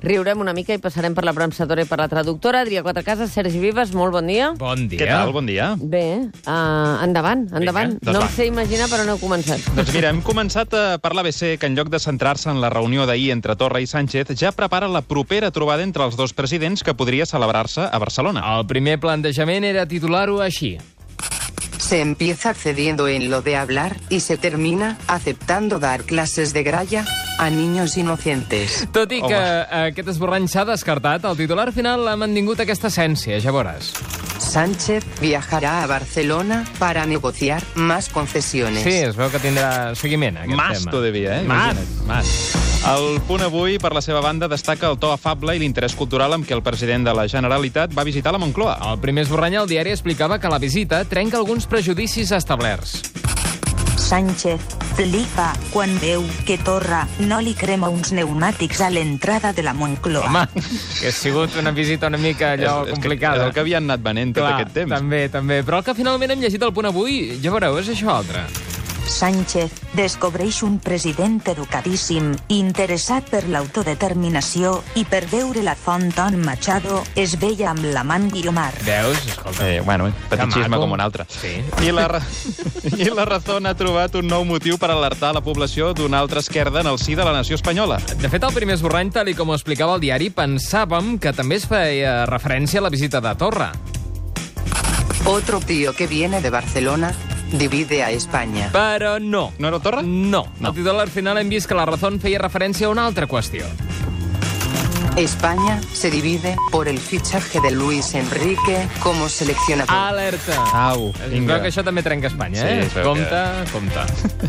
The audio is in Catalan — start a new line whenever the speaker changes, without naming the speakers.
Riurem una mica i passarem per la premsadora i per la traductora. Adrià Quatrecases, Sergi Vives, molt bon dia.
Bon dia.
Què tal? Bon dia.
Bé, uh, endavant, endavant.
doncs
no
va.
em sé imaginar per on heu començat.
Doncs mira, hem començat eh, per l'ABC, que en lloc de centrar-se en la reunió d'ahir entre Torra i Sánchez, ja prepara la propera trobada entre els dos presidents que podria celebrar-se a Barcelona.
El primer plantejament era titular-ho així.
Se empieza accediendo en lo de hablar y se termina aceptando dar clases de gralla a niños inocentes.
Tot i
Home.
que eh, aquest esborrany s'ha descartat, el titular final ha mantingut aquesta essència, ja veuràs.
Sánchez viajará a Barcelona para negociar más concesiones.
Sí, es veu que tindrà seguiment, aquest
Mas
tema.
todavía, eh?
Mas,
Imagina't.
mas.
El punt avui, per la seva banda, destaca el to afable i l'interès cultural amb què el president de la Generalitat va visitar la Moncloa.
El primer esborrany al diari explicava que la visita trenca alguns prejudicis establerts.
Sánchez flipa quan veu que Torra no li crema uns pneumàtics a l'entrada de la Moncloa.
Home, que ha sigut una visita una mica allò
és, és
complicada.
Que, és el que havien anat venent tot
Clar,
aquest temps.
També, també. Però el que finalment hem llegit al punt avui, ja veureu, és això altre.
Sánchez descobreix un president educadíssim, interessat per l'autodeterminació i per veure la font on Machado es veia amb l'amant Guiomar.
Veus? Escolta.
Eh, bueno,
maco.
fetichisme com un altre.
Sí.
I la, ra- I la Razón ha trobat un nou motiu per alertar la població d'una altra esquerda en el sí de la nació espanyola.
De fet, el primer esborrany, tal i com ho explicava el diari, pensàvem que també es feia referència a la visita de Torra.
Otro tío que viene de Barcelona divide a España.
Però no.
No era Torra?
No.
No.
Al titular final hem vist que la Razón feia referència a una altra qüestió.
España se divide por el fichaje de Luis Enrique como seleccionador.
Alerta!
Au,
Es
vinga.
veu que això també trenca Espanya,
Sí,
eh?
es veu
Compte, compte.